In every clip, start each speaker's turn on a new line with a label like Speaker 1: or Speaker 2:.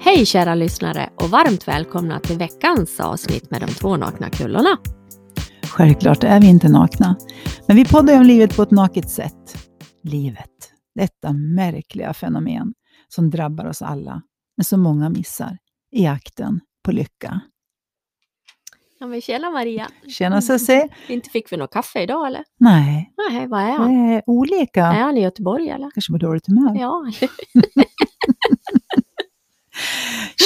Speaker 1: Hej kära lyssnare och varmt välkomna till veckans avsnitt med de två nakna kullorna.
Speaker 2: Självklart är vi inte nakna, men vi poddar om livet på ett naket sätt. Livet, detta märkliga fenomen som drabbar oss alla, men som många missar i jakten på lycka.
Speaker 1: Ja men tjena Maria!
Speaker 2: Tjena
Speaker 1: Mm.
Speaker 2: Susie!
Speaker 1: Inte fick vi något kaffe idag eller?
Speaker 2: Nej,
Speaker 1: Nej, vad är
Speaker 2: det
Speaker 1: han?
Speaker 2: är
Speaker 1: Är
Speaker 2: olika.
Speaker 1: han i Göteborg eller?
Speaker 2: Kanske på dåligt humör.
Speaker 1: Ja,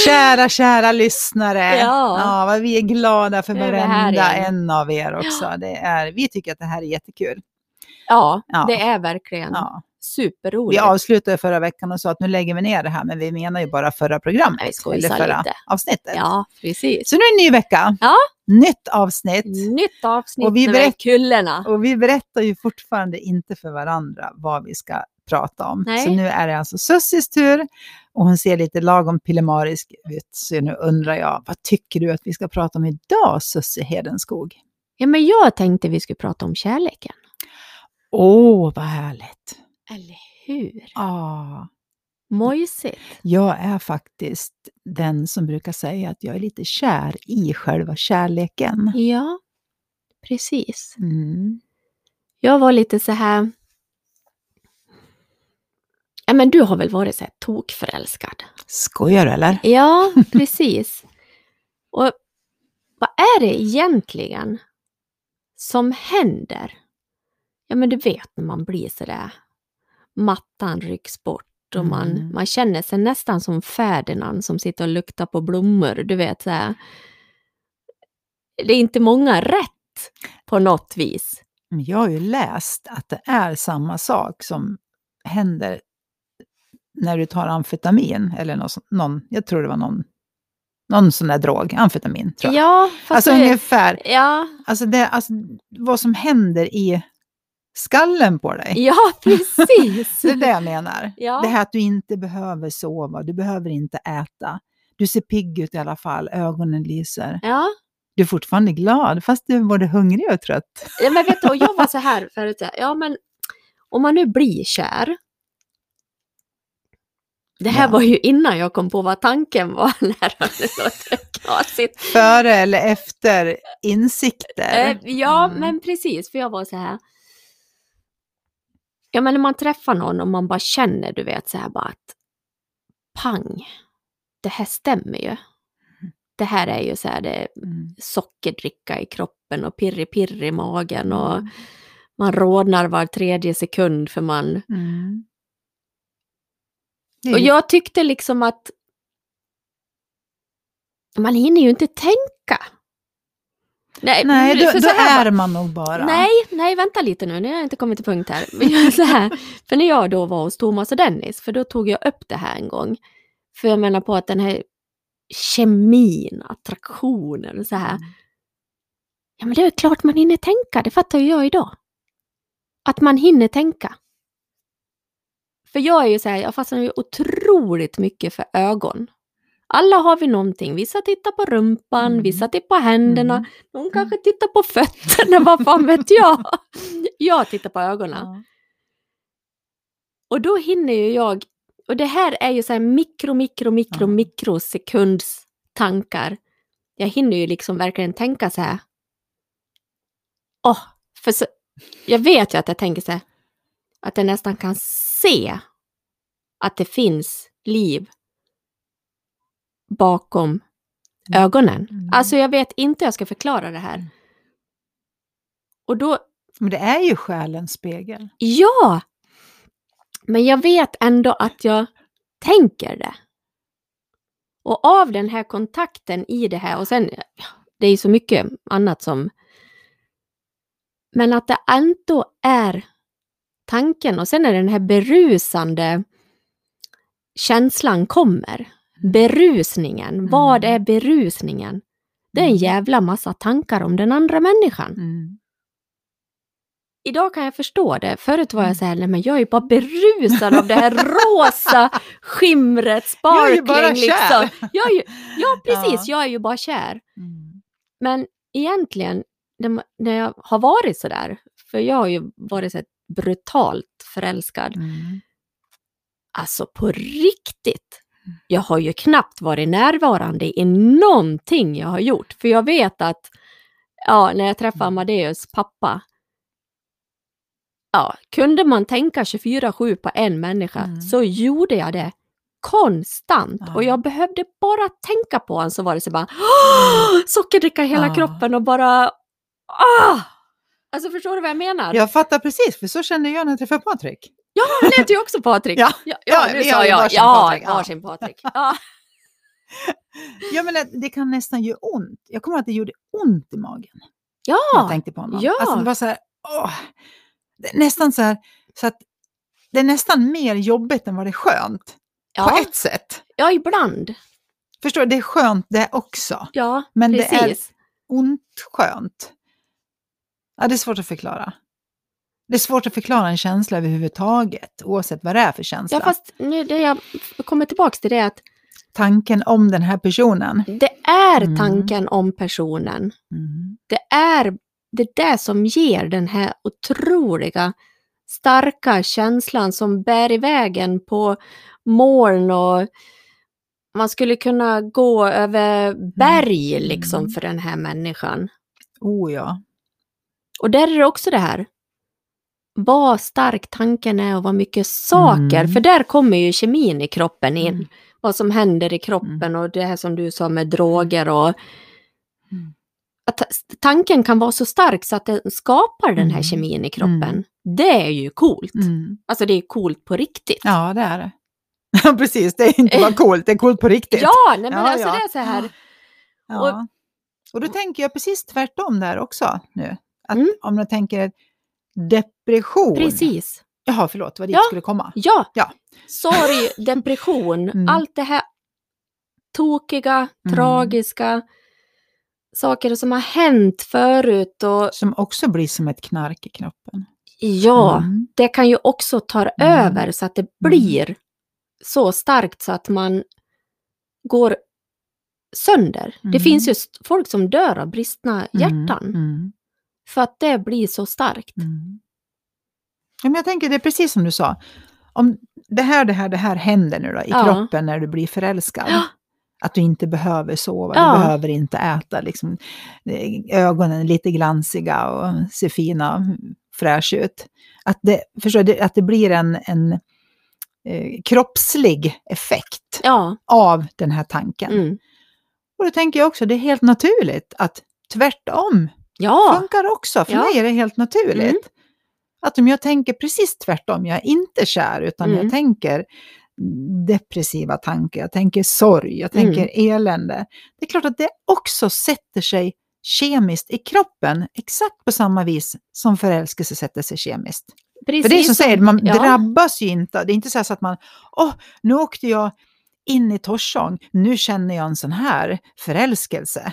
Speaker 2: Kära, kära lyssnare!
Speaker 1: Ja.
Speaker 2: vad vi är glada för
Speaker 1: Nu är vi här
Speaker 2: varenda
Speaker 1: igen.
Speaker 2: en av er också. Det är, vi tycker att det här är jättekul.
Speaker 1: ja
Speaker 2: Ja.
Speaker 1: det är verkligen
Speaker 2: Ja. Vi
Speaker 1: superroligt.
Speaker 2: avslutade förra veckan och sa att nu lägger vi ner det här, men vi menar ju bara förra programmet.
Speaker 1: Nej, vi skojsar
Speaker 2: eller förra
Speaker 1: lite.
Speaker 2: avsnittet.
Speaker 1: Ja, precis.
Speaker 2: Så nu är det en ny vecka.
Speaker 1: Ja.
Speaker 2: Nytt avsnitt.
Speaker 1: Nytt avsnitt
Speaker 2: Och vi
Speaker 1: med de här
Speaker 2: berätt-
Speaker 1: kullorna.
Speaker 2: Och vi berättar ju fortfarande inte för varandra vad vi ska prata om.
Speaker 1: Nej.
Speaker 2: Så nu är det alltså Sussis tur och hon ser lite lagom pillemarisk ut. Så nu undrar jag, vad tycker du att vi ska prata om idag, Sussi Hedenskog?
Speaker 1: Ja men jag tänkte vi skulle prata om kärleken.
Speaker 2: Åh, vad härligt!
Speaker 1: Eller hur?
Speaker 2: Ah,
Speaker 1: Mojsigt.
Speaker 2: jag är faktiskt den som brukar säga att jag är lite kär i själva kärleken.
Speaker 1: Ja, precis.
Speaker 2: Mm.
Speaker 1: Jag var lite så här... Ja, men du har väl varit så här tokförälskad?
Speaker 2: Skojar du eller?
Speaker 1: Ja, precis. Och vad är det egentligen som händer? Ja, men du vet när man blir så där... Mattan rycks bort och man,
Speaker 2: Mm.
Speaker 1: man känner sig nästan som Ferdinand som sitter och luktar på blommor. Du vet så här... Det är inte många rätt på något vis.
Speaker 2: Men jag har ju läst att det är samma sak som händer när du tar amfetamin, eller någon, sån- någon jag tror det var någon, någon sån där drog, amfetamin tror jag.
Speaker 1: Ja, fast
Speaker 2: alltså
Speaker 1: det-
Speaker 2: ungefär,
Speaker 1: Ja,
Speaker 2: alltså, det, alltså vad som händer i skallen på dig.
Speaker 1: ja precis.
Speaker 2: Det är det jag menar.
Speaker 1: Ja.
Speaker 2: Det här att du inte behöver sova, du behöver inte äta. Du ser pigg ut i alla fall, ögonen lyser.
Speaker 1: Ja,
Speaker 2: Du är fortfarande glad, fast du är både hungrig och trött.
Speaker 1: Ja, men vet du, och jag var så här förut, så här, ja men om man nu blir kär. Det här
Speaker 2: Ja.
Speaker 1: var ju innan jag kom på vad tanken var när han låter knasigt.
Speaker 2: Före eller efter insikter.
Speaker 1: Eh, Ja,
Speaker 2: Mm.
Speaker 1: men precis, för jag var så här. Ja, men när man träffar någon och man bara känner, du vet, så här bara att pang, det här stämmer ju. Det här är ju så här, det,
Speaker 2: Mm.
Speaker 1: sockerdricka i kroppen och pirrig pirr i magen och
Speaker 2: Mm.
Speaker 1: man rodnar var tredje sekund för man...
Speaker 2: Mm. Det är
Speaker 1: Och
Speaker 2: ju-
Speaker 1: jag tyckte liksom att man hinner ju inte tänka.
Speaker 2: nej, då,
Speaker 1: Mm, för
Speaker 2: då
Speaker 1: så här
Speaker 2: är man nog bara.
Speaker 1: Nej, nej, vänta lite nu, nu har jag inte kommit till punkt här. Men jag är så här. För när jag då var hos Thomas och Dennis, för då tog jag upp det här en gång. För jag menar på att den här kemin, attraktionen och så här. Ja, men det är klart man hinner tänka, det fattar ju jag idag. Att man hinner tänka. För jag är ju så här, jag fastnar ju otroligt mycket för ögon. Alla har vi någonting, vissa tittar på rumpan,
Speaker 2: Mm.
Speaker 1: vissa tittar på händerna,
Speaker 2: Mm.
Speaker 1: någon kanske tittar på fötterna, vad fan vet jag? Jag tittar på ögonen.
Speaker 2: Ja.
Speaker 1: Och då hinner ju jag, och det här är ju så här mikro, mikro, mikro,
Speaker 2: Ja.
Speaker 1: mikrosekunds tankar. Jag hinner ju liksom verkligen tänka så här. Åh, för så, jag vet ju att jag tänker så här, att jag nästan kan se att det finns liv bakom
Speaker 2: Mm.
Speaker 1: ögonen.
Speaker 2: Mm.
Speaker 1: Alltså jag vet inte hur jag ska förklara det här.
Speaker 2: Mm.
Speaker 1: Och då
Speaker 2: Men det är ju själens spegel.
Speaker 1: Ja! Men jag vet ändå att jag tänker det. Och av den här kontakten i det här och sen, ja, det är ju så mycket annat som... Men att det ändå är tanken och sen är det den här berusande känslan kommer. Berusningen, vad är berusningen? Det är en jävla massa tankar om den andra människan
Speaker 2: Mm.
Speaker 1: idag kan jag förstå det. Förut var
Speaker 2: Mm.
Speaker 1: jag så här, nej men jag är ju bara berusad av det här rosa skimret, sparkling.
Speaker 2: Jag är ju bara kär.
Speaker 1: Liksom. Jag är ju, ja, precis,
Speaker 2: Ja.
Speaker 1: jag är ju bara kär.
Speaker 2: Mm.
Speaker 1: Men egentligen, när ma- när jag har varit så där, för jag har ju varit så här brutalt förälskad,
Speaker 2: Mm.
Speaker 1: alltså på riktigt, jag har ju knappt varit närvarande i någonting jag har gjort. För jag vet att ja, när jag
Speaker 2: Mm.
Speaker 1: träffade Amadeus pappa, ja, kunde man tänka 24-7 på en människa
Speaker 2: Mm.
Speaker 1: så gjorde jag det konstant.
Speaker 2: Ja. Mm.
Speaker 1: Och jag behövde bara tänka på honom så var det så bara "Åh!" sockerdricka i hela
Speaker 2: Ja.
Speaker 1: kroppen och bara ah! Alltså förstår du vad jag menar?
Speaker 2: Jag fattar precis, för så kände jag när jag träffade Patrik.
Speaker 1: Han heter ju också Patrik.
Speaker 2: Ja.
Speaker 1: ja,
Speaker 2: Ja,
Speaker 1: ja nu
Speaker 2: vi
Speaker 1: sa
Speaker 2: har ju
Speaker 1: jag.
Speaker 2: varsin
Speaker 1: Ja,
Speaker 2: Patrik, ja.
Speaker 1: varsin Patrik. Ja.
Speaker 2: Jag menar, det kan nästan göra ont. Jag kommer ihåg att det gjorde ont i magen när jag
Speaker 1: ja.
Speaker 2: tänkte på honom.
Speaker 1: Ah, ja.
Speaker 2: Alltså, det var så här, åh, det är nästan så här, så att det är nästan mer jobbigt än vad det är skönt. På
Speaker 1: ja.
Speaker 2: ett sätt.
Speaker 1: ja ibland.
Speaker 2: Förstår du, det är skönt det också.
Speaker 1: Ja,
Speaker 2: Men det är
Speaker 1: precis.
Speaker 2: ont skönt. Ja, det är svårt att förklara. Det är svårt att förklara en känsla överhuvudtaget, oavsett vad det är för känsla.
Speaker 1: Ja, fast nu det jag kommer tillbaks till det är att
Speaker 2: Tanken om den här personen.
Speaker 1: det är
Speaker 2: Mm.
Speaker 1: tanken om personen.
Speaker 2: Mm.
Speaker 1: Det är det är det som ger den här otroliga starka känslan som bär ivägen på moln och man skulle kunna gå över berg liksom
Speaker 2: Mm.
Speaker 1: för den här människan.
Speaker 2: Oh ja.
Speaker 1: Och där är det också det här. Vad stark tanken är och vad mycket saker,
Speaker 2: Mm.
Speaker 1: för där kommer ju kemin i kroppen in.
Speaker 2: Mm.
Speaker 1: Vad som händer i kroppen och det här som du sa med droger och...
Speaker 2: Mm.
Speaker 1: Att ta- tanken kan vara så stark så att den skapar den här
Speaker 2: Mm.
Speaker 1: kemin i kroppen.
Speaker 2: Mm.
Speaker 1: Det är ju coolt.
Speaker 2: Mm.
Speaker 1: Alltså det är coolt på riktigt.
Speaker 2: Ja, det är det. Ja, precis. Det är inte bara coolt, det är coolt på riktigt.
Speaker 1: Ja, nej, men
Speaker 2: Ja,
Speaker 1: alltså
Speaker 2: ja.
Speaker 1: det är så här.
Speaker 2: Ja. Och, då tänker jag precis tvärtom där också nu. Att
Speaker 1: Mm.
Speaker 2: Om jag tänker depression.
Speaker 1: Precis.
Speaker 2: Jaha, förlåt, vad dit
Speaker 1: Ja.
Speaker 2: skulle komma.
Speaker 1: Ja.
Speaker 2: Ja.
Speaker 1: Sorg, depression,
Speaker 2: Mm.
Speaker 1: allt det här tokiga,
Speaker 2: Mm.
Speaker 1: tragiska saker som har hänt förut och
Speaker 2: Som också blir som ett knark i kroppen.
Speaker 1: ja,
Speaker 2: Mm.
Speaker 1: det kan ju också ta över så att det blir så starkt så att man går sönder. Det
Speaker 2: Mm.
Speaker 1: finns ju st- folk som dör av bristna hjärtan
Speaker 2: Mm. Mm.
Speaker 1: för att det blir så starkt.
Speaker 2: Mm. Ja, men jag tänker det är precis som du sa. Om det här, det här, det här händer nu då, i
Speaker 1: Ja.
Speaker 2: kroppen när du blir förälskad.
Speaker 1: Ja.
Speaker 2: Att du inte behöver sova,
Speaker 1: Ja.
Speaker 2: du behöver inte äta. Liksom, eh, ögonen är lite glansiga och ser fina och fräsch ut. Att det, förstår du, att det blir en, en eh, kroppslig effekt
Speaker 1: Ja,
Speaker 2: av den här tanken.
Speaker 1: mm.
Speaker 2: Och då tänker jag också, det är helt naturligt att tvärtom
Speaker 1: ja,
Speaker 2: funkar också. För
Speaker 1: Ja.
Speaker 2: mig är det helt naturligt.
Speaker 1: Mm.
Speaker 2: Att om jag tänker precis tvärtom, jag är inte kär utan
Speaker 1: Mm.
Speaker 2: jag tänker depressiva tankar, jag tänker sorg, jag
Speaker 1: Mm.
Speaker 2: tänker elände. Det är klart att det också sätter sig kemiskt i kroppen exakt på samma vis som förälskelse sätter sig kemiskt.
Speaker 1: precis.
Speaker 2: För det är som säger, man
Speaker 1: ja.
Speaker 2: drabbas ju inte. Det är inte så, här så att man, åh, nu åkte jag in i Torsång, nu känner jag en sån här förälskelse.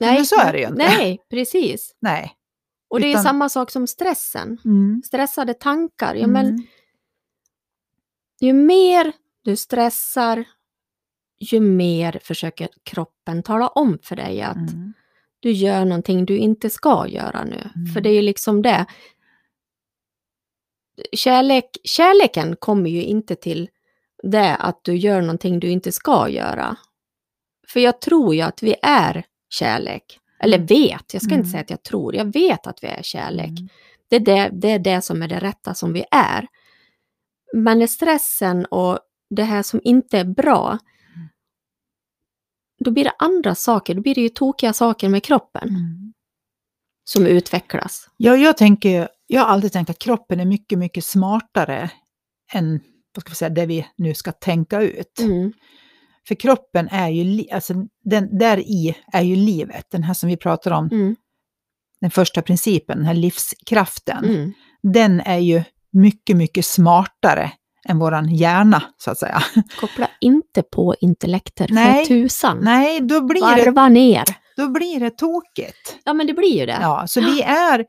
Speaker 2: men så är det ju inte.
Speaker 1: Nej, precis.
Speaker 2: Nej.
Speaker 1: Och det är
Speaker 2: Utan-
Speaker 1: samma sak som stressen.
Speaker 2: Mm.
Speaker 1: Stressade tankar. Ja, men
Speaker 2: Mm.
Speaker 1: ju mer du stressar, ju mer försöker kroppen tala om för dig att
Speaker 2: Mm.
Speaker 1: du gör någonting du inte ska göra nu.
Speaker 2: Mm.
Speaker 1: För det är ju liksom det. Kärlek, kärleken kommer ju inte till det att du gör någonting du inte ska göra. För jag tror ju att vi är kärlek. Eller vet, jag ska
Speaker 2: Mm.
Speaker 1: inte säga att jag tror, jag vet att vi är kärlek.
Speaker 2: Mm.
Speaker 1: Det är det, det är det som är det rätta som vi är. Men när stressen och det här som inte är bra, då blir det andra saker, då blir det ju tokiga saker med kroppen
Speaker 2: Mm.
Speaker 1: som utvecklas.
Speaker 2: Ja, jag, tänker, jag har alltid tänkt att kroppen är mycket, mycket smartare än vad ska vi säga, det vi nu ska tänka ut.
Speaker 1: Mm.
Speaker 2: För kroppen är ju, li- alltså den där i är ju livet, den här som vi pratar om,
Speaker 1: Mm.
Speaker 2: den första principen, den här livskraften.
Speaker 1: Mm.
Speaker 2: Den är ju mycket, mycket smartare än våran hjärna, så att säga.
Speaker 1: Koppla inte på intellekter
Speaker 2: Nej.
Speaker 1: för tusan.
Speaker 2: Nej, då blir, det,
Speaker 1: Varva ner.
Speaker 2: då blir det tokigt.
Speaker 1: Ja, men det blir ju det.
Speaker 2: Ja, så vi är,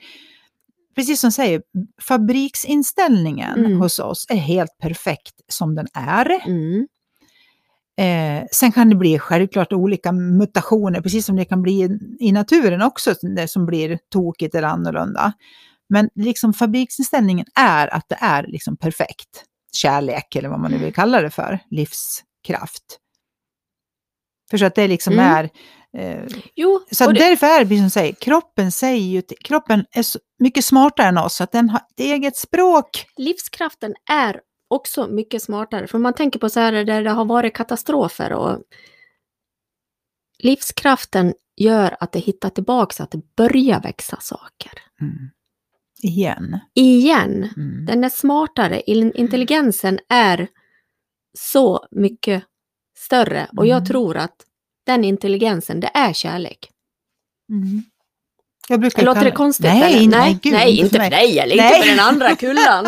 Speaker 2: precis som du säger, fabriksinställningen
Speaker 1: Mm.
Speaker 2: hos oss är helt perfekt som den är.
Speaker 1: Mm.
Speaker 2: Eh, sen kan det bli självklart olika mutationer, precis som det kan bli i- i naturen också, det som blir tokigt eller annorlunda. Men liksom fabriksinställningen är
Speaker 1: Mm.
Speaker 2: att det är liksom perfekt kärlek, eller vad man nu vill kalla det för, livskraft. För så att det liksom
Speaker 1: Mm.
Speaker 2: är... Eh,
Speaker 1: Jo,
Speaker 2: så
Speaker 1: och
Speaker 2: att
Speaker 1: det-
Speaker 2: därför är det precis som du säger, kroppen, säger ju, till- kroppen är så mycket smartare än oss, så att den har ett eget språk.
Speaker 1: livskraften är också mycket smartare. För man tänker på så här där det har varit katastrofer och livskraften gör att det hittar tillbaks, att det börjar växa saker. Mm.
Speaker 2: Igen.
Speaker 1: Igen,
Speaker 2: Mm.
Speaker 1: den är smartare, In- intelligensen är så mycket större och jag
Speaker 2: Mm.
Speaker 1: tror att den intelligensen, det är kärlek.
Speaker 2: Mm. Jag brukar
Speaker 1: Låter
Speaker 2: kalla-
Speaker 1: det konstigt?
Speaker 2: Nej,
Speaker 1: eller?
Speaker 2: nej, gud,
Speaker 1: nej inte
Speaker 2: för
Speaker 1: för
Speaker 2: mig.
Speaker 1: dig eller
Speaker 2: Nej.
Speaker 1: inte för den andra kullan.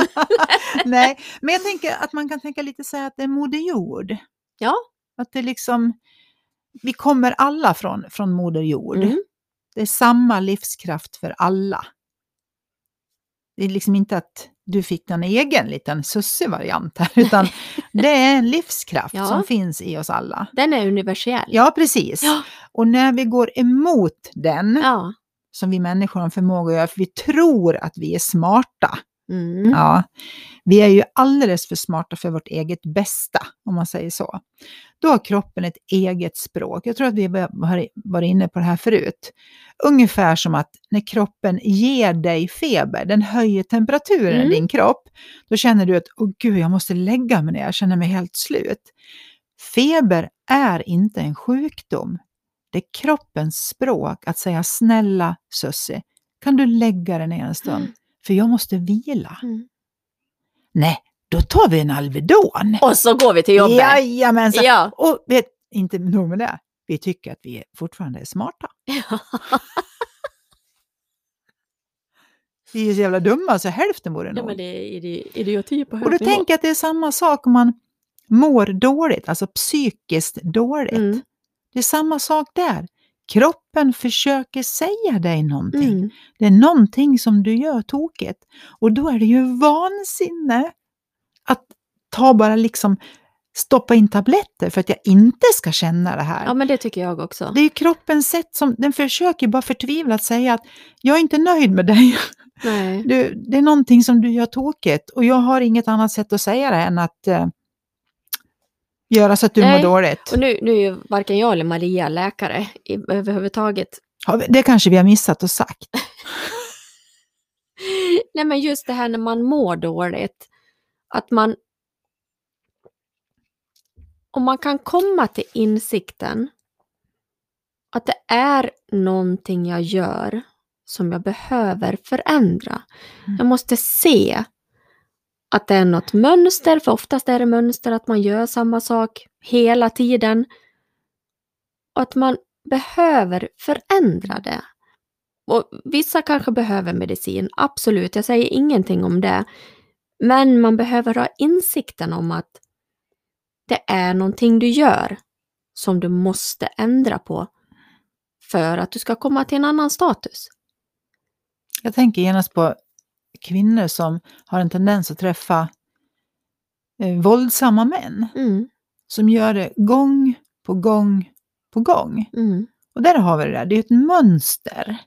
Speaker 2: Nej, men jag tänker att man kan tänka lite så här att det är Moder Jord.
Speaker 1: Ja.
Speaker 2: Att det liksom, vi kommer alla från, från Moder Jord.
Speaker 1: Mm.
Speaker 2: Det är samma livskraft för alla. Det är liksom inte att du fick någon egen liten sussevariant här, utan det är en livskraft
Speaker 1: Ja.
Speaker 2: som finns i oss alla.
Speaker 1: Den är universell.
Speaker 2: Ja, precis.
Speaker 1: Ja.
Speaker 2: Och när vi går emot den,
Speaker 1: Ja.
Speaker 2: som vi människor har en förmåga att göra, för vi tror att vi är smarta,
Speaker 1: Mm.
Speaker 2: Ja, vi är ju alldeles för smarta för vårt eget bästa, om man säger så. Då har kroppen ett eget språk. Jag tror att vi har varit inne på det här förut. Ungefär som att när kroppen ger dig feber, den höjer temperaturen
Speaker 1: Mm.
Speaker 2: i din kropp, då känner du att åh gud, jag måste lägga mig ner, jag känner mig helt slut. Feber är inte en sjukdom. Det är kroppens språk att säga snälla Sussi, kan du lägga dig ner en stund?
Speaker 1: Mm.
Speaker 2: För jag måste vila.
Speaker 1: Mm.
Speaker 2: Nej, då tar vi en Alvedon.
Speaker 1: Och så går vi till jobbet.
Speaker 2: Jajamensan.
Speaker 1: Ja.
Speaker 2: Och vet, inte nog med det, vi tycker att vi är- fortfarande är smarta. Vi är så jävla dumma så hälften vore nog.
Speaker 1: det är idioti på
Speaker 2: och då tänker jag att det är samma sak om man mår dåligt, alltså psykiskt dåligt.
Speaker 1: Mm.
Speaker 2: Det är samma sak där. Kroppen försöker säga dig någonting.
Speaker 1: Mm.
Speaker 2: Det är någonting som du gör tokigt. Och då är det ju vansinne att ta bara liksom stoppa in tabletter för att jag inte ska känna det här.
Speaker 1: Ja, men det tycker jag också.
Speaker 2: Det är ju kroppens sätt som, den försöker ju bara förtvivlat säga att jag är inte nöjd med dig.
Speaker 1: Nej.
Speaker 2: Du, det är någonting som du gör tokigt och jag har inget annat sätt att säga det än att eh, göra så att du
Speaker 1: Nej.
Speaker 2: mår dåligt.
Speaker 1: Och nu, nu är ju varken jag eller Maria läkare i, överhuvudtaget.
Speaker 2: Har vi- Det kanske vi har missat och sagt.
Speaker 1: Nej, men just det här när man mår dåligt. Att man... Om man kan komma till insikten att det är någonting jag gör som jag behöver förändra.
Speaker 2: Mm.
Speaker 1: Jag måste se att det är något mönster, för oftast är det mönster att man gör samma sak hela tiden. Och att man behöver förändra det. Och vissa kanske behöver medicin, absolut, jag säger ingenting om det. Men man behöver ha insikten om att det är någonting du gör som du måste ändra på för att du ska komma till en annan status.
Speaker 2: Jag tänker genast på kvinnor som har en tendens att träffa eh, våldsamma män
Speaker 1: Mm,
Speaker 2: som gör det gång på gång på gång.
Speaker 1: mm,
Speaker 2: Och där har vi det där, det är ett mönster.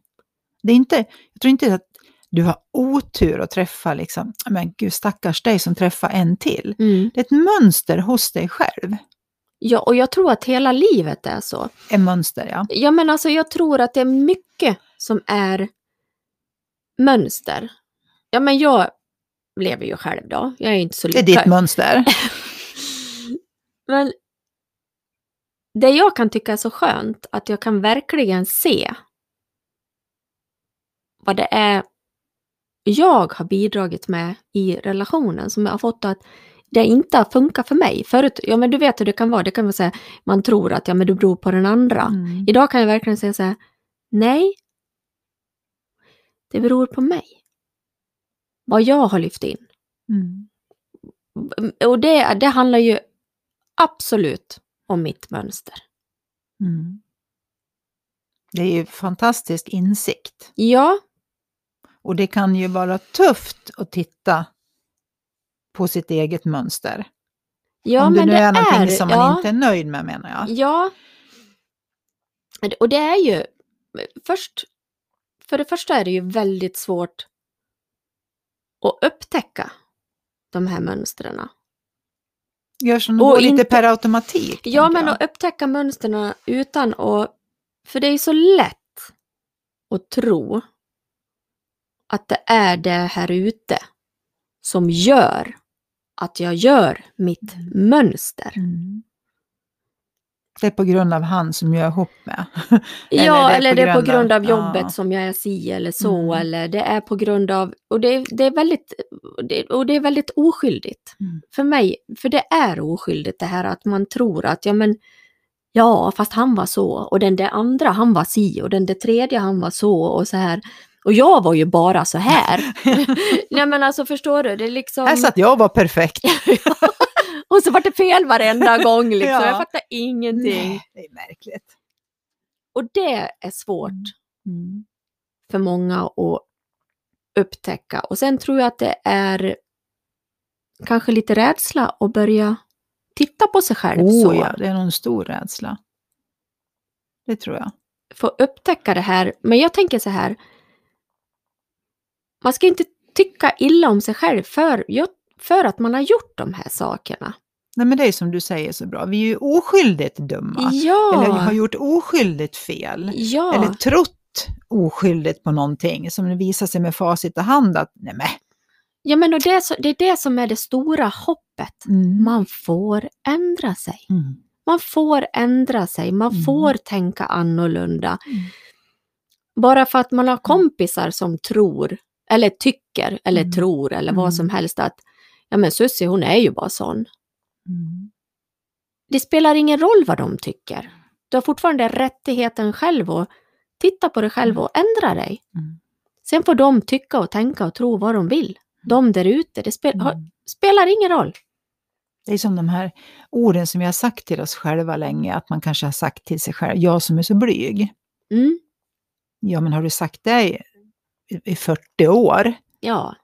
Speaker 2: Det är inte, jag tror inte att du har otur att träffa liksom, men gud stackars dig som träffar en till.
Speaker 1: mm.
Speaker 2: Det är ett mönster hos dig själv.
Speaker 1: Ja, och jag tror att hela livet är så.
Speaker 2: Ett mönster, ja.
Speaker 1: Ja, men alltså jag tror att det är mycket som är mönster. Ja, men jag lever ju själv då. Jag är inte så
Speaker 2: Det är ditt
Speaker 1: lyckad.
Speaker 2: mönster.
Speaker 1: Men det jag kan tycka är så skönt, att jag kan verkligen se vad det är jag har bidragit med i relationen som jag har fått att det inte har funkat för mig. Förut, ja men du vet hur det kan vara, det kan vara så här, man tror att ja men det beror på den andra.
Speaker 2: Mm.
Speaker 1: Idag kan jag verkligen säga så här, nej, det beror på mig. Vad jag har lyft in.
Speaker 2: Mm.
Speaker 1: Och det, det handlar ju absolut om mitt mönster.
Speaker 2: Mm. Det är ju fantastisk insikt.
Speaker 1: Ja,
Speaker 2: Och det kan ju vara tufft att titta på sitt eget mönster.
Speaker 1: ja
Speaker 2: Om det
Speaker 1: men
Speaker 2: nu
Speaker 1: det
Speaker 2: är någonting som man
Speaker 1: ja,
Speaker 2: inte är nöjd med menar jag.
Speaker 1: Ja. Och det är ju, först, för det första är det ju väldigt svårt att upptäcka de här mönstren.
Speaker 2: Gör som det
Speaker 1: Och
Speaker 2: går, lite
Speaker 1: inte-
Speaker 2: per automatik.
Speaker 1: Ja,
Speaker 2: tänker
Speaker 1: men
Speaker 2: jag.
Speaker 1: att upptäcka mönstren utan att... För det är så lätt att tro att det är det här ute som gör att jag gör mitt mönster.
Speaker 2: Mm. Det är på grund av han som jag är ihop med. Eller
Speaker 1: ja,
Speaker 2: det är
Speaker 1: eller
Speaker 2: på
Speaker 1: det är på
Speaker 2: grund av-
Speaker 1: grund av jobbet
Speaker 2: ja.
Speaker 1: som jag är si eller så,
Speaker 2: Mm.
Speaker 1: eller det är på grund av... Och det är, det är, väldigt, och det, och det är väldigt oskyldigt
Speaker 2: Mm.
Speaker 1: för mig, för det är oskyldigt det här att man tror att, ja men, ja, fast han var så, och den där andra han var si, och den där tredje han var så, och så här. Och jag var ju bara så här. Nej men alltså förstår du, det är liksom...
Speaker 2: Här satt jag och var perfekt.
Speaker 1: Och så vart det fel varenda gång liksom,
Speaker 2: Ja.
Speaker 1: jag fattar ingenting.
Speaker 2: Nej, det är märkligt.
Speaker 1: Och det är svårt
Speaker 2: Mm.
Speaker 1: för många att upptäcka. Och sen tror jag att det är kanske lite rädsla att börja titta på sig själv så.
Speaker 2: Oh, ja, det är nog en stor rädsla. Det tror jag.
Speaker 1: För att upptäcka det här. Men jag tänker så här. Man ska inte tycka illa om sig själv för, för att man har gjort de här sakerna.
Speaker 2: Nej, men det är som du säger så bra, vi är ju oskyldigt dumma.
Speaker 1: Ja,
Speaker 2: Eller har gjort oskyldigt fel.
Speaker 1: ja.
Speaker 2: Eller trott oskyldigt på någonting som det visar sig med facit i hand att nej men.
Speaker 1: ja men och det, är så, det är det som är det stora hoppet.
Speaker 2: Mm.
Speaker 1: Man får ändra sig.
Speaker 2: Mm.
Speaker 1: Man får ändra sig, man
Speaker 2: Mm.
Speaker 1: får tänka annorlunda.
Speaker 2: Mm.
Speaker 1: Bara för att man har kompisar som tror, eller tycker, eller
Speaker 2: Mm.
Speaker 1: tror, eller
Speaker 2: Mm.
Speaker 1: vad som helst att ja men Susie hon är ju bara sån.
Speaker 2: Mm.
Speaker 1: Det spelar ingen roll vad de tycker. Du har fortfarande rättigheten själv att titta på dig själv och ändra dig.
Speaker 2: Mm.
Speaker 1: Sen får de tycka och tänka och tro vad de vill.
Speaker 2: Mm.
Speaker 1: De där ute, det spel, har, spelar ingen roll.
Speaker 2: Det är som de här orden som vi har sagt till oss själva länge, att man kanske har sagt till sig själv, jag som är så blyg.
Speaker 1: Mm.
Speaker 2: Ja, men har du sagt det i, i 40 år?
Speaker 1: Ja,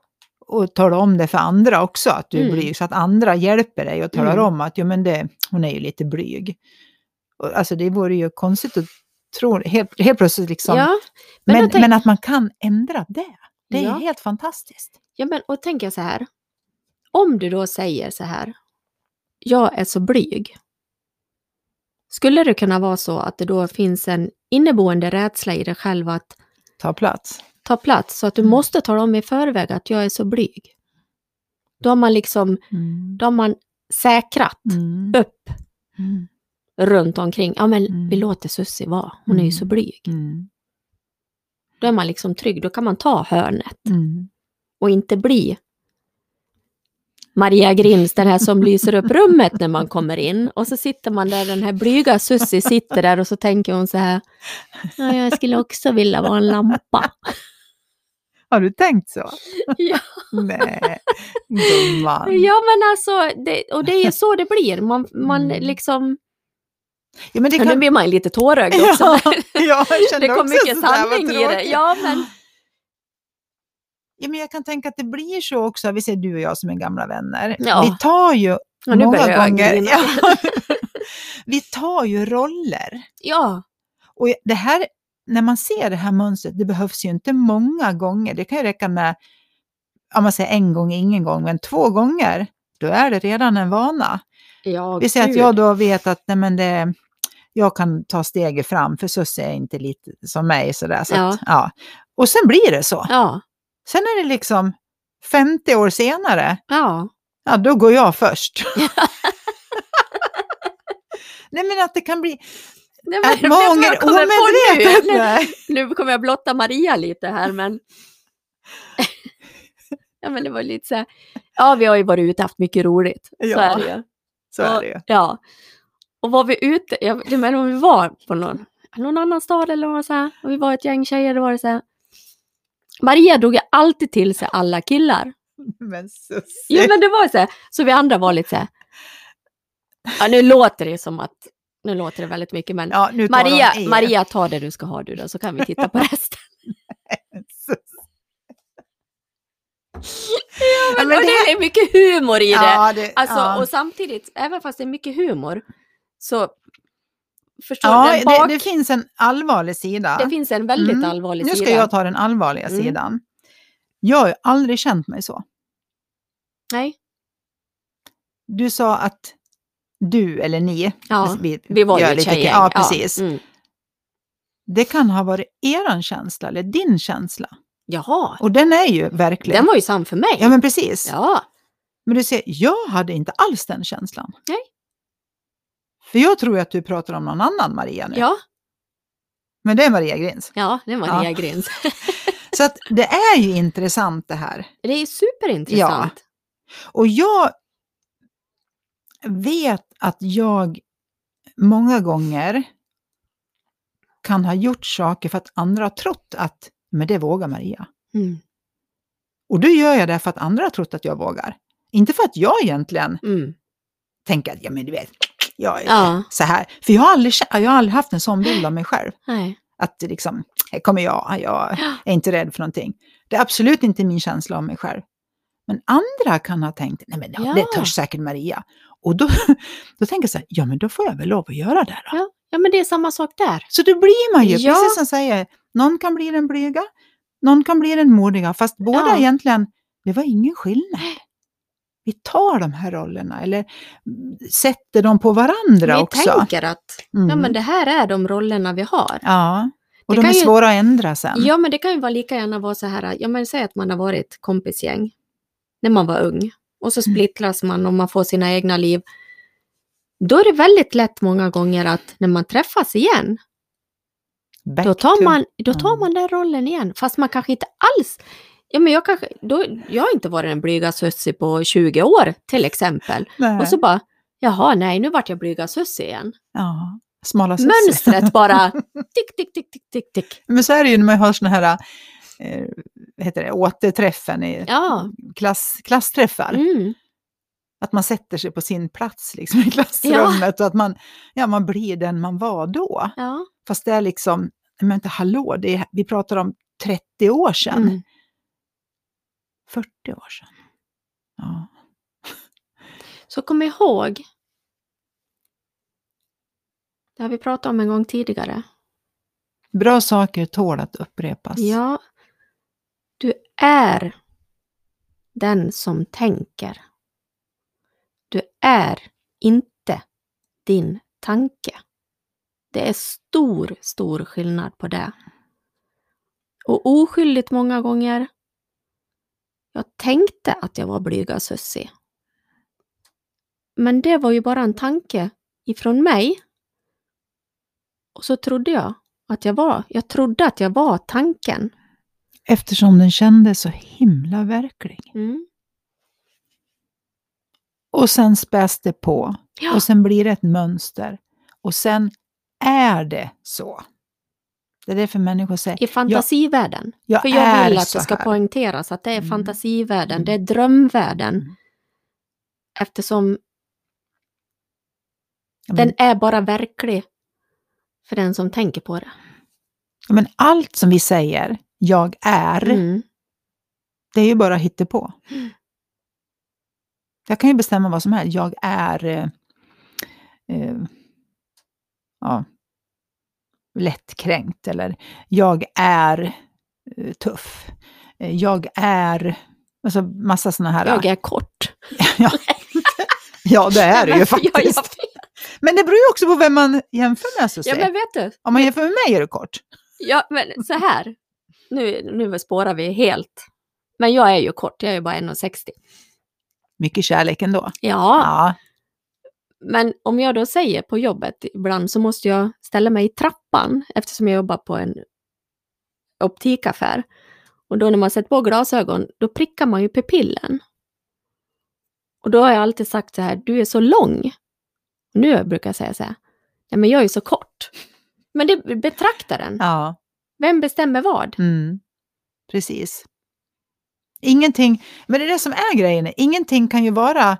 Speaker 2: Och tala om det för andra också, att du är
Speaker 1: Mm.
Speaker 2: blyg, så att andra hjälper dig och talar
Speaker 1: Mm.
Speaker 2: om att, ja men det, hon är ju lite blyg. Och, alltså det vore ju konstigt att tro, helt, helt plötsligt liksom.
Speaker 1: ja. men
Speaker 2: men,
Speaker 1: jag
Speaker 2: men,
Speaker 1: tänk-
Speaker 2: att man kan ändra det, det är
Speaker 1: Ja.
Speaker 2: helt fantastiskt.
Speaker 1: Ja, men och tänker jag så här. Om du då säger så här. Jag är så blyg. Skulle det kunna vara så att det då finns en inneboende rädsla i dig själv att
Speaker 2: Ta plats.
Speaker 1: ta plats så att du
Speaker 2: Mm.
Speaker 1: måste tala om i förväg att jag är så blyg? Då har man liksom,
Speaker 2: Mm.
Speaker 1: då har man säkrat
Speaker 2: Mm.
Speaker 1: upp
Speaker 2: Mm.
Speaker 1: runt omkring. Ja, men
Speaker 2: Mm.
Speaker 1: vi låter Sussi vara. Hon är ju så
Speaker 2: Mm.
Speaker 1: blyg.
Speaker 2: Mm.
Speaker 1: Då är man liksom trygg. Då kan man ta hörnet.
Speaker 2: Mm.
Speaker 1: och inte bli Maria Grims, den här som lyser upp rummet när man kommer in. Och så sitter man där, den här blyga Sussi sitter där och så tänker hon så här. Ja, jag skulle också vilja vara en lampa.
Speaker 2: Har du tänkt så?
Speaker 1: Ja,
Speaker 2: Nej, gumman.
Speaker 1: ja men alltså, det, och det är så det blir. Man, man
Speaker 2: Mm.
Speaker 1: liksom...
Speaker 2: Ja, men det
Speaker 1: Nu blir man ju lite tårögd också.
Speaker 2: Ja, ja, jag kände
Speaker 1: det kom
Speaker 2: också
Speaker 1: mycket
Speaker 2: sådär, vad
Speaker 1: sanning i det.
Speaker 2: tråkigt.
Speaker 1: Ja, men...
Speaker 2: Ja, men jag kan tänka att det blir så också, vi ser du och jag som är gamla vänner.
Speaker 1: Ja.
Speaker 2: Vi tar ju
Speaker 1: Ja, nu börjar
Speaker 2: många
Speaker 1: jag
Speaker 2: gånger...
Speaker 1: grina.
Speaker 2: Ja, vi tar ju roller.
Speaker 1: Ja,
Speaker 2: Och det här, när man ser det här mönstret, det behövs ju inte många gånger. Det kan ju räcka med, om man säger en gång, ingen gång, men två gånger. Då är det redan en vana.
Speaker 1: ja
Speaker 2: Vi säger att
Speaker 1: gud.
Speaker 2: jag då vet att nej, men det, jag kan ta steget fram, för Susse är inte lite som mig. Sådär, så
Speaker 1: Ja.
Speaker 2: Att, ja. Och sen blir det så.
Speaker 1: Ja,
Speaker 2: Sen är det liksom 50 år senare,
Speaker 1: ja.
Speaker 2: ja då går jag först. nej men att det kan bli...
Speaker 1: Nej,
Speaker 2: Att
Speaker 1: vet du vad
Speaker 2: många
Speaker 1: jag kommer på nu?
Speaker 2: omedvetet...
Speaker 1: Nej.
Speaker 2: Nej.
Speaker 1: Nu kommer jag blotta Maria lite här, men... ja, men det var lite så här... Ja, vi har ju varit ute och haft mycket roligt. Så
Speaker 2: Ja,
Speaker 1: är det ju.
Speaker 2: Så är det ju.
Speaker 1: Och, ja. Och var vi ute, jag, du menar om vi var på någon, någon annan stad eller vad så här, och vi var ett gäng tjejer, då var det så här. Maria drog ju alltid till sig alla killar.
Speaker 2: Men Susie.
Speaker 1: Jo, men det var så här. Så vi andra var lite så här. Ja, nu låter det som att, nu låter det väldigt mycket, men
Speaker 2: Ja, nu tar
Speaker 1: Maria,
Speaker 2: de er.
Speaker 1: Maria, ta det du ska ha du då, så kan vi titta på resten.
Speaker 2: Susie.
Speaker 1: Men,
Speaker 2: men
Speaker 1: och
Speaker 2: det-
Speaker 1: det är mycket humor i det.
Speaker 2: Ja, det,
Speaker 1: alltså,
Speaker 2: ja.
Speaker 1: Och samtidigt, även fast det är mycket humor, så förstår
Speaker 2: ja,
Speaker 1: du, den bak,
Speaker 2: det, det finns en allvarlig sida.
Speaker 1: det, finns en väldigt
Speaker 2: Mm.
Speaker 1: allvarlig
Speaker 2: Nu ska
Speaker 1: sida.
Speaker 2: jag ta den allvarliga
Speaker 1: Mm.
Speaker 2: sidan. Jag har ju aldrig känt mig så.
Speaker 1: Nej,
Speaker 2: Du sa att du eller ni.
Speaker 1: Ja,
Speaker 2: vi,
Speaker 1: vi var
Speaker 2: gör
Speaker 1: ju ett
Speaker 2: lite-
Speaker 1: tjejgäng.
Speaker 2: Ja, precis.
Speaker 1: Mm.
Speaker 2: Det kan ha varit er känsla eller din känsla.
Speaker 1: Jaha,
Speaker 2: Och den är ju verklig.
Speaker 1: den var ju sam för mig.
Speaker 2: Ja, men precis.
Speaker 1: Ja,
Speaker 2: Men du ser, jag hade inte alls den känslan.
Speaker 1: Nej.
Speaker 2: För jag tror ju att du pratar om någon annan Maria nu.
Speaker 1: ja,
Speaker 2: Men det är Maria Grins.
Speaker 1: ja, det var
Speaker 2: Ja.
Speaker 1: Maria Grins.
Speaker 2: Så att det är ju intressant det här.
Speaker 1: Det är superintressant.
Speaker 2: Och jag vet att jag många gånger kan ha gjort saker för att andra har trott att men det vågar Maria.
Speaker 1: Mm.
Speaker 2: Och då gör jag det för att andra har trott att jag vågar. Inte för att jag egentligen
Speaker 1: Mm.
Speaker 2: tänker att ja, men du vet, jag är
Speaker 1: Ja,
Speaker 2: så här. För jag har, aldrig, kä- jag har aldrig haft en sån bild av mig själv.
Speaker 1: nej.
Speaker 2: Att det liksom, här kommer jag, jag är inte rädd för någonting. Det är absolut inte min känsla om mig själv. Men andra kan ha tänkt, nej men det-
Speaker 1: Ja.
Speaker 2: det törs säkert Maria. Och då, då tänker jag så här, ja men då får jag väl lov att göra det då.
Speaker 1: Ja. ja, men det är samma sak där.
Speaker 2: Så då blir man ju,
Speaker 1: Ja.
Speaker 2: precis som jag säger, någon kan bli den blyga, någon kan bli den modiga, fast båda
Speaker 1: Ja.
Speaker 2: egentligen, det var ingen skillnad. Vi tar de här rollerna, eller mm, sätter dem på varandra
Speaker 1: Vi
Speaker 2: också.
Speaker 1: tänker att
Speaker 2: Mm.
Speaker 1: ja, men det här är de rollerna vi har.
Speaker 2: Ja, och
Speaker 1: Det
Speaker 2: de är
Speaker 1: kan ju-
Speaker 2: svåra att ändra sen.
Speaker 1: Ja, men det kan ju vara lika gärna vara så här, ja men säg att man har varit kompisgäng när man var ung och så
Speaker 2: Mm.
Speaker 1: splittras man och man får sina egna liv. Då är det väldigt lätt många gånger att när man träffas igen,
Speaker 2: Back
Speaker 1: då tar
Speaker 2: to-
Speaker 1: man, då tar
Speaker 2: Mm.
Speaker 1: man den rollen igen. Fast man kanske inte alls, ja men jag kanske, då, jag har inte varit den blyga Sussie på 20 år till exempel.
Speaker 2: Nej.
Speaker 1: Och så bara, jaha nej nu vart jag blyga Sussie igen.
Speaker 2: Ja, smala sussi.
Speaker 1: Mönstret bara, tick, tick, tick, tick, tick, tick.
Speaker 2: Men så är det ju när man har såna här eh, vad heter det, återträffen i
Speaker 1: Ja,
Speaker 2: klass, klassträffar.
Speaker 1: mm,
Speaker 2: Att man sätter sig på sin plats liksom, i klassrummet och att man, ja, man blir den man var då.
Speaker 1: ja.
Speaker 2: Fast det är liksom, men inte hallå, det är, vi pratar om 30 år sedan,
Speaker 1: Mm.
Speaker 2: 40 år sedan. Ja.
Speaker 1: Så kom ihåg, det har vi pratat om en gång tidigare.
Speaker 2: Bra saker tål att upprepas.
Speaker 1: Ja, du är den som tänker. Du är inte din tanke. Det är stor, stor skillnad på det. Och oskyldigt många gånger. Jag tänkte att jag var blyga Sussie. Men det var ju bara en tanke ifrån mig. Och så trodde jag att jag var, jag trodde att jag var tanken.
Speaker 2: Eftersom den kändes så himla verklig. Och sen späs det på.
Speaker 1: Ja.
Speaker 2: Och sen blir det ett mönster. Och sen är det så. Det är därför människor säger,
Speaker 1: I fantasivärlden.
Speaker 2: jag
Speaker 1: För jag
Speaker 2: är
Speaker 1: vill att
Speaker 2: så
Speaker 1: det ska
Speaker 2: här.
Speaker 1: poängteras att det är
Speaker 2: Mm.
Speaker 1: fantasivärlden,
Speaker 2: Mm.
Speaker 1: det är drömvärlden.
Speaker 2: Mm.
Speaker 1: Eftersom
Speaker 2: Ja, men,
Speaker 1: den är bara verklig för den som tänker på det.
Speaker 2: ja, men allt som vi säger, jag är,
Speaker 1: Mm.
Speaker 2: det är ju bara hittepå.
Speaker 1: Mm.
Speaker 2: Jag kan ju bestämma vad som helst. Jag är eh, eh, ja, lättkränkt eller jag är eh, tuff. Eh, Jag är, alltså massa sådana här.
Speaker 1: Jag är kort.
Speaker 2: Ja. ja, det är det ju faktiskt.
Speaker 1: Ja, jag vet.
Speaker 2: Men det beror ju också på vem man jämför med. Susie.
Speaker 1: ja, men vet du?
Speaker 2: Om man jämför med mig är det kort.
Speaker 1: Ja, men så här. Nu, nu spårar vi helt. Men jag är ju kort, jag är ju bara 1,60.
Speaker 2: Mycket kärlek ändå.
Speaker 1: Ja,
Speaker 2: Ja.
Speaker 1: Men om jag då säger på jobbet ibland så måste jag ställa mig i trappan eftersom jag jobbar på en optikaffär. Och då när man sätter på glasögon, då prickar man ju pupillen. Och då har jag alltid sagt så här, du är så lång. Nu brukar jag säga så här, nej men jag är så kort. Men det är betraktaren,
Speaker 2: ja.
Speaker 1: vem bestämmer vad?
Speaker 2: Mm. Precis. Ingenting, men det är det som är grejen. Ingenting kan ju vara,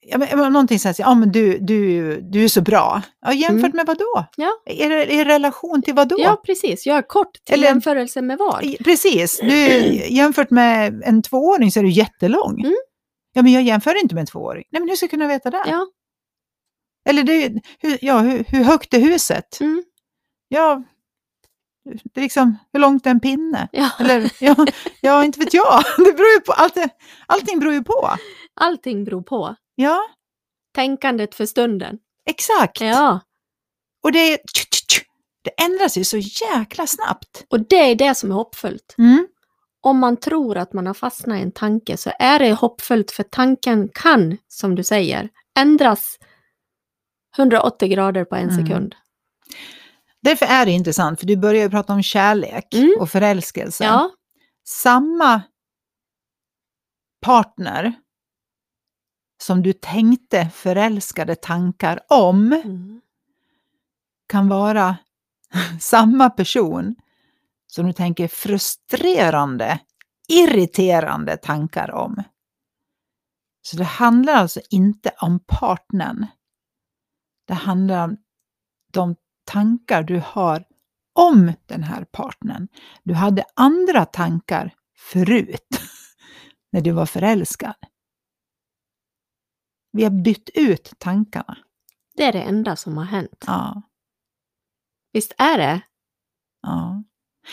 Speaker 2: ja, men, men någonting som säger, ja men du, du, du är så bra. Ja, jämfört
Speaker 1: Mm.
Speaker 2: med vad då?
Speaker 1: Ja.
Speaker 2: I, re- I relation till vad då?
Speaker 1: Ja precis, jag är kort till
Speaker 2: Mm. Eller-
Speaker 1: jämförelse med vad?
Speaker 2: I- Precis, du, jämfört med en tvååring så är du jättelång.
Speaker 1: Mm.
Speaker 2: Ja, men jag jämför inte med en tvååring. Nej, men hur ska jag kunna veta det?
Speaker 1: Ja,
Speaker 2: Eller du, hur, ja, hur, hur högt är huset?
Speaker 1: mm,
Speaker 2: Ja, det är liksom, hur långt är en pinne?
Speaker 1: ja.
Speaker 2: Eller, ja, ja inte vet jag. Det beror ju på, allt, allting beror ju på.
Speaker 1: allting beror på.
Speaker 2: Ja,
Speaker 1: tänkandet för stunden.
Speaker 2: Exakt!
Speaker 1: Ja,
Speaker 2: Och det, är- det ändras ju så jäkla snabbt.
Speaker 1: och det är det som är hoppfullt.
Speaker 2: Mm.
Speaker 1: Om man tror att man har fastnat i en tanke så är det hoppfullt för tanken kan, som du säger, ändras 180 grader på en
Speaker 2: Mm.
Speaker 1: sekund.
Speaker 2: Därför är det intressant, för du börjar ju prata om kärlek
Speaker 1: Mm.
Speaker 2: och förälskelse.
Speaker 1: Ja,
Speaker 2: Samma partner som du tänkte förälskade tankar om
Speaker 1: mm.
Speaker 2: kan vara samma person som du tänker frustrerande, irriterande tankar om. Så det handlar alltså inte om partnern. Det handlar om de tankar du har om den här partnern. Du hade andra tankar förut, när du var förälskad. Vi har bytt ut tankarna.
Speaker 1: det är det enda som har hänt.
Speaker 2: Ja.
Speaker 1: Visst är det?
Speaker 2: Ja.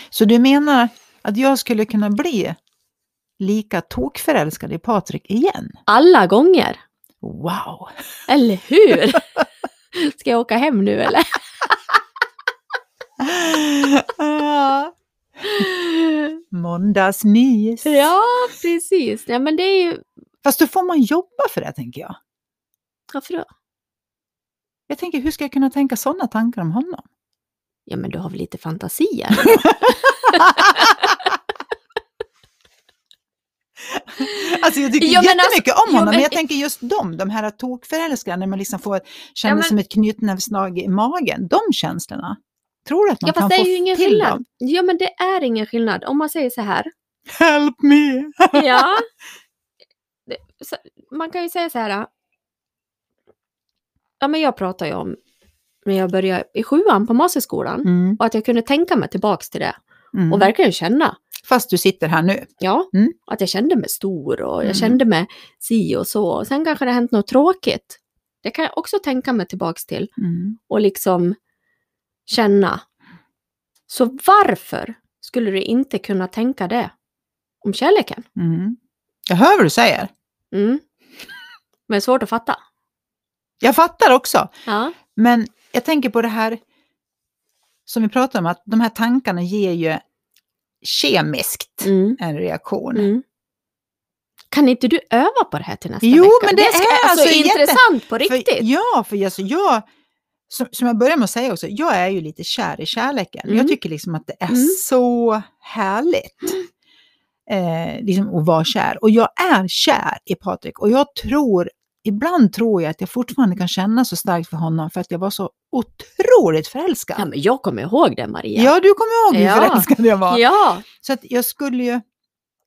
Speaker 2: Så du menar att jag skulle kunna bli lika tokförälskad i Patrik igen?
Speaker 1: Alla gånger.
Speaker 2: Wow!
Speaker 1: Eller hur? Ska jag åka hem nu eller?
Speaker 2: Ja. Måndagsmys.
Speaker 1: Ja, precis. Ja, men det är ju...
Speaker 2: Fast då får man jobba för det, tänker jag.
Speaker 1: Varför då?
Speaker 2: Jag tänker, hur ska jag kunna tänka sådana tankar om honom?
Speaker 1: Ja, men du har väl lite fantasi? eller?
Speaker 2: Alltså jag tycker
Speaker 1: Jo, men
Speaker 2: jättemycket
Speaker 1: alltså-
Speaker 2: om honom,
Speaker 1: jo,
Speaker 2: men...
Speaker 1: men-
Speaker 2: jag tänker just de, de här tokförälskarna, när man liksom får, känner
Speaker 1: Ja, men-
Speaker 2: som ett knytnävsslag i magen, de känslorna. Tror du att man
Speaker 1: Ja,
Speaker 2: kan
Speaker 1: fast det
Speaker 2: få
Speaker 1: är ju ingen
Speaker 2: till
Speaker 1: skillnad.
Speaker 2: dem?
Speaker 1: Ja, men det är ingen skillnad. Om man säger så här.
Speaker 2: Help me!
Speaker 1: Ja. Det, så, man kan ju säga så här. äh, Ja, men jag pratar ju om när jag började i sjuan på masterskolan
Speaker 2: Mm,
Speaker 1: och att jag kunde tänka mig tillbaks till det
Speaker 2: mm.
Speaker 1: och verkligen känna.
Speaker 2: Fast du sitter här nu.
Speaker 1: Ja,
Speaker 2: Mm.
Speaker 1: att jag kände mig stor och jag
Speaker 2: Mm.
Speaker 1: kände mig si och så. Och sen kanske det har hänt något tråkigt. Det kan jag också tänka mig tillbaks till
Speaker 2: Mm.
Speaker 1: och liksom känna. Så varför skulle du inte kunna tänka det om kärleken?
Speaker 2: Mm. Jag hör vad du säger.
Speaker 1: Mm. Men det är svårt att fatta.
Speaker 2: Jag fattar också.
Speaker 1: Ja.
Speaker 2: Men jag tänker på det här som vi pratade om, att de här tankarna ger ju kemiskt
Speaker 1: Mm.
Speaker 2: en reaktion.
Speaker 1: Mm. Kan inte du öva på det här till nästa
Speaker 2: Jo,
Speaker 1: vecka?
Speaker 2: men det
Speaker 1: ska-
Speaker 2: är alltså jätte-
Speaker 1: intressant på
Speaker 2: För-
Speaker 1: riktigt.
Speaker 2: Ja, för alltså jag, som, som jag började med att säga också, jag är ju lite kär i kärleken.
Speaker 1: Mm.
Speaker 2: Jag tycker liksom att det är
Speaker 1: Mm.
Speaker 2: så härligt. Eh, liksom att vara kär. Och jag är kär i Patrik. Och jag tror, ibland tror jag att jag fortfarande kan känna så starkt för honom för att jag var så otroligt förälskad.
Speaker 1: Ja, men jag kommer ihåg det Maria.
Speaker 2: Ja, du kommer ihåg hur
Speaker 1: Ja.
Speaker 2: förälskad jag var.
Speaker 1: ja.
Speaker 2: Så att jag skulle ju...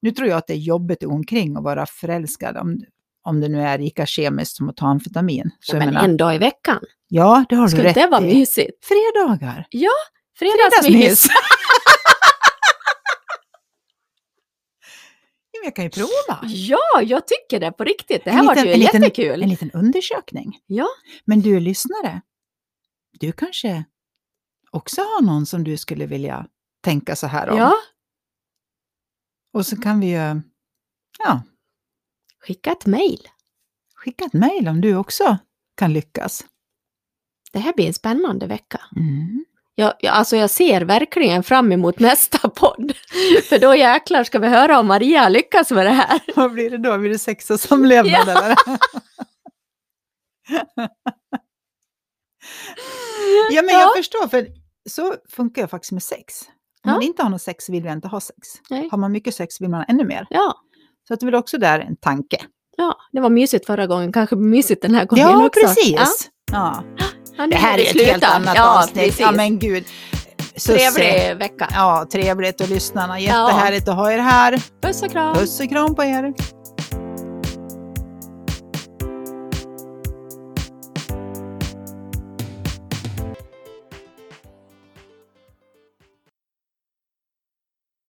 Speaker 2: Nu tror jag att det är jobbigt omkring att vara förälskad, om, om det nu är lika kemiskt som att ta amfetamin. Så jag
Speaker 1: men
Speaker 2: menar-
Speaker 1: en dag i veckan.
Speaker 2: Ja, det har
Speaker 1: Skulle
Speaker 2: du rätt
Speaker 1: det vara
Speaker 2: i.
Speaker 1: mysigt?
Speaker 2: Fredagar.
Speaker 1: Fredagsmys.
Speaker 2: Ja, men jag kan ju prova.
Speaker 1: Ja, jag tycker det på riktigt. Det här
Speaker 2: En
Speaker 1: var
Speaker 2: liten-
Speaker 1: ju
Speaker 2: en liten-
Speaker 1: jättekul.
Speaker 2: En liten undersökning.
Speaker 1: Ja.
Speaker 2: Men du lyssnare, du kanske också har någon som du skulle vilja tänka så här om.
Speaker 1: ja,
Speaker 2: Och så kan vi ju ja,
Speaker 1: skicka ett mejl.
Speaker 2: skicka ett mejl om du också kan lyckas.
Speaker 1: Det här blir en spännande vecka.
Speaker 2: Mm.
Speaker 1: Jag, jag, alltså jag ser verkligen fram emot nästa podd. För då jäklar ska vi höra om Maria lyckas med det här.
Speaker 2: Vad blir det då? Blir det sex och samlevnad eller? ja, men jag
Speaker 1: Ja.
Speaker 2: förstår, för så funkar jag faktiskt med sex. Om
Speaker 1: Ja.
Speaker 2: man inte har något sex vill jag inte ha sex.
Speaker 1: Nej.
Speaker 2: Har man mycket sex vill man ännu mer.
Speaker 1: Ja,
Speaker 2: Så att det är väl också där en tanke.
Speaker 1: ja, det var mysigt förra gången, kanske mysigt den här gången
Speaker 2: ja,
Speaker 1: också.
Speaker 2: precis.
Speaker 1: Ja,
Speaker 2: Ja.
Speaker 1: ja, nu
Speaker 2: Det
Speaker 1: får
Speaker 2: här
Speaker 1: vi
Speaker 2: är ett
Speaker 1: sluta.
Speaker 2: helt annat
Speaker 1: ja,
Speaker 2: avsnitt.
Speaker 1: Precis.
Speaker 2: Ja, men eh. gud. Så se-
Speaker 1: Trevlig vecka.
Speaker 2: Ja, trevligt och lyssnarna. Jättehärligt att ha er här.
Speaker 1: Puss och kram.
Speaker 2: Puss och kram på er.